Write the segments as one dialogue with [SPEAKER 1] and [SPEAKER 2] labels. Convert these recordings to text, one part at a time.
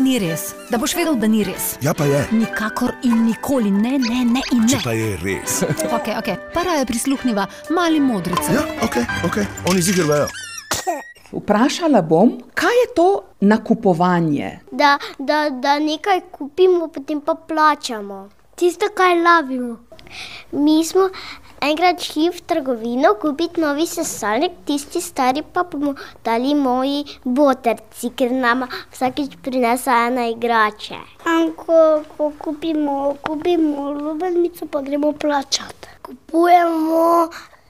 [SPEAKER 1] ni res, da boš vedel, da ni res.
[SPEAKER 2] Ja, pa je.
[SPEAKER 1] Nikakor in nikoli ne, ne, ne in
[SPEAKER 2] Če
[SPEAKER 1] ne.
[SPEAKER 2] pa je res.
[SPEAKER 1] Okay, okay. Para je prisluhnila mali modrici.
[SPEAKER 2] Ja, ok, ok, oni zigrajo.
[SPEAKER 3] Vprašala bom, kaj je to nakupovanje?
[SPEAKER 4] da, da, da nekaj kupimo, potem pa plačamo. Tisto, kar lovimo. Mi smo enkrat šli v trgovino kupiti novi sesalnik, tisti stari pa bomo dali moji boterci, ker nam vsakeč prinese ena igrače. Ko, ko kupimo, kupimo lubenico, pa gremo plačati. Kupujemo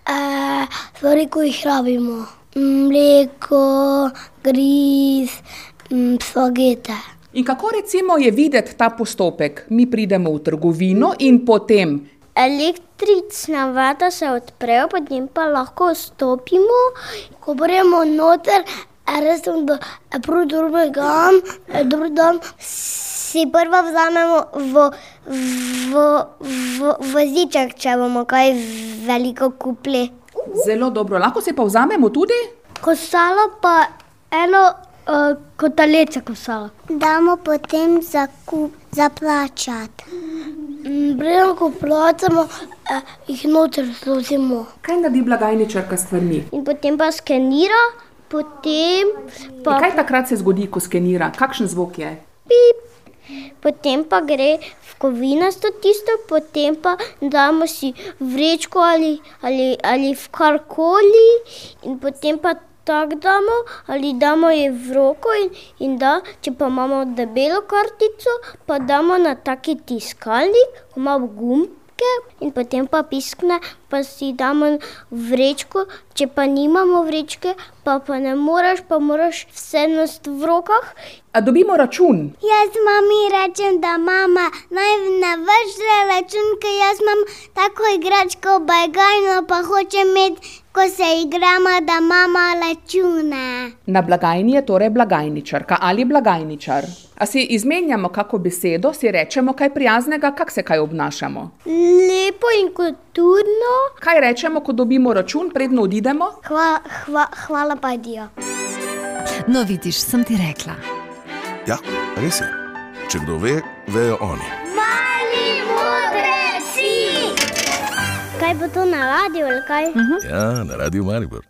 [SPEAKER 4] eh, stvari, ko jih rabimo. Mleko, gris, Mm, Spagete.
[SPEAKER 3] In kako recimo je videti ta postopek? Mi pridemo v trgovino in potem
[SPEAKER 4] Električna vrata se odprejo, potem pa lahko stopimo. Ko gremo noter, eh, res tam do drugega, drugi dan eh, si prvo vzamemo v, v, v, v ziček, če bomo kaj veliko kupili.
[SPEAKER 3] zelo dobro, lahko se pa vzamemo tudi.
[SPEAKER 4] Kosalo pa eno uh, kotalece kosalo. Damo potem za kup, za plačati. Breno, Mm, ko plačamo, eh, jih noter zlozimo.
[SPEAKER 3] Kaj naredi blagajničarka s stvarmi?
[SPEAKER 4] In potem pa skenira, potem
[SPEAKER 3] In
[SPEAKER 4] pa
[SPEAKER 3] kaj takrat se zgodi, ko skenira? Kakšen zvok je?
[SPEAKER 4] pip. Potem pa gre v kovinasto tisto, potem pa damo si vrečko ali, ali, ali v karkoli in potem pa tako damo ali damo ji v roko in, in da, če pa imamo debelo kartico, pa damo na taki tiskalnik, ko ima gumke in potem pa piskne, pa si damo vrečko, če pa nimamo vrečke, pa pa ne moreš, pa moraš vse nositi v rokah
[SPEAKER 3] A dobimo račun.
[SPEAKER 4] Jaz mami rečem, da mama naj ne vrže račun, ker jaz imam tako igračko bagajno, pa hočem imeti, ko se igramo, da mama računa.
[SPEAKER 3] Na blagajni je torej blagajničarka ali blagajničar. A si izmenjamo kako besedo, si rečemo kaj prijaznega, kako se kaj obnašamo.
[SPEAKER 4] Lepo in kulturno.
[SPEAKER 3] Kaj rečemo, ko dobimo račun, predno odidemo?
[SPEAKER 4] Hva, hva, hvala pa Dio.
[SPEAKER 1] No, vidiš, sem ti rekla.
[SPEAKER 2] Ja, res je. Če kdo ve, vejo oni.
[SPEAKER 4] Mali modri si! Kaj bo to na radiju ali kaj?
[SPEAKER 2] Ja, na radiju Maribor.